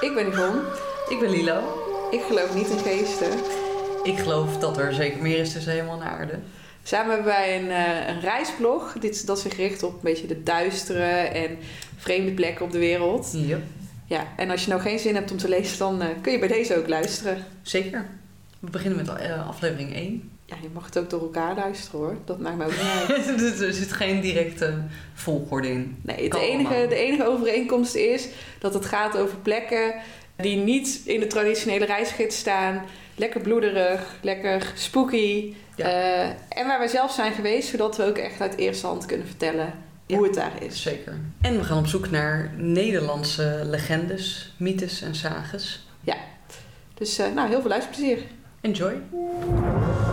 Ik ben Yvonne. Ik ben Lilo. Ik geloof niet in geesten. Ik geloof dat er zeker meer is tussen hemel en aarde. Samen hebben wij een, eh, een reisblog. Dit, is- dat zich richt op een beetje de duistere en vreemde plekken op de wereld. Yep. Ja, en als je nou geen zin hebt om te lezen, dan eh, kun je bij deze ook luisteren. Zeker. We beginnen met eh, aflevering 1. Ja, je mag het ook door elkaar luisteren hoor. Dat maakt me ook niet uit. dus er zit geen directe volgorde in. Nee, het Kan enige, allemaal. de enige overeenkomst is dat het gaat over plekken die niet in de traditionele reisgids staan. Lekker bloederig, lekker spooky. Ja. eh, en waar we zelf zijn geweest, zodat we ook echt uit eerste hand kunnen vertellen Ja. hoe het daar is. Zeker. En we gaan op zoek naar Nederlandse legendes, mythes en sages. Dus eh, nou, heel veel luisterplezier. Enjoy.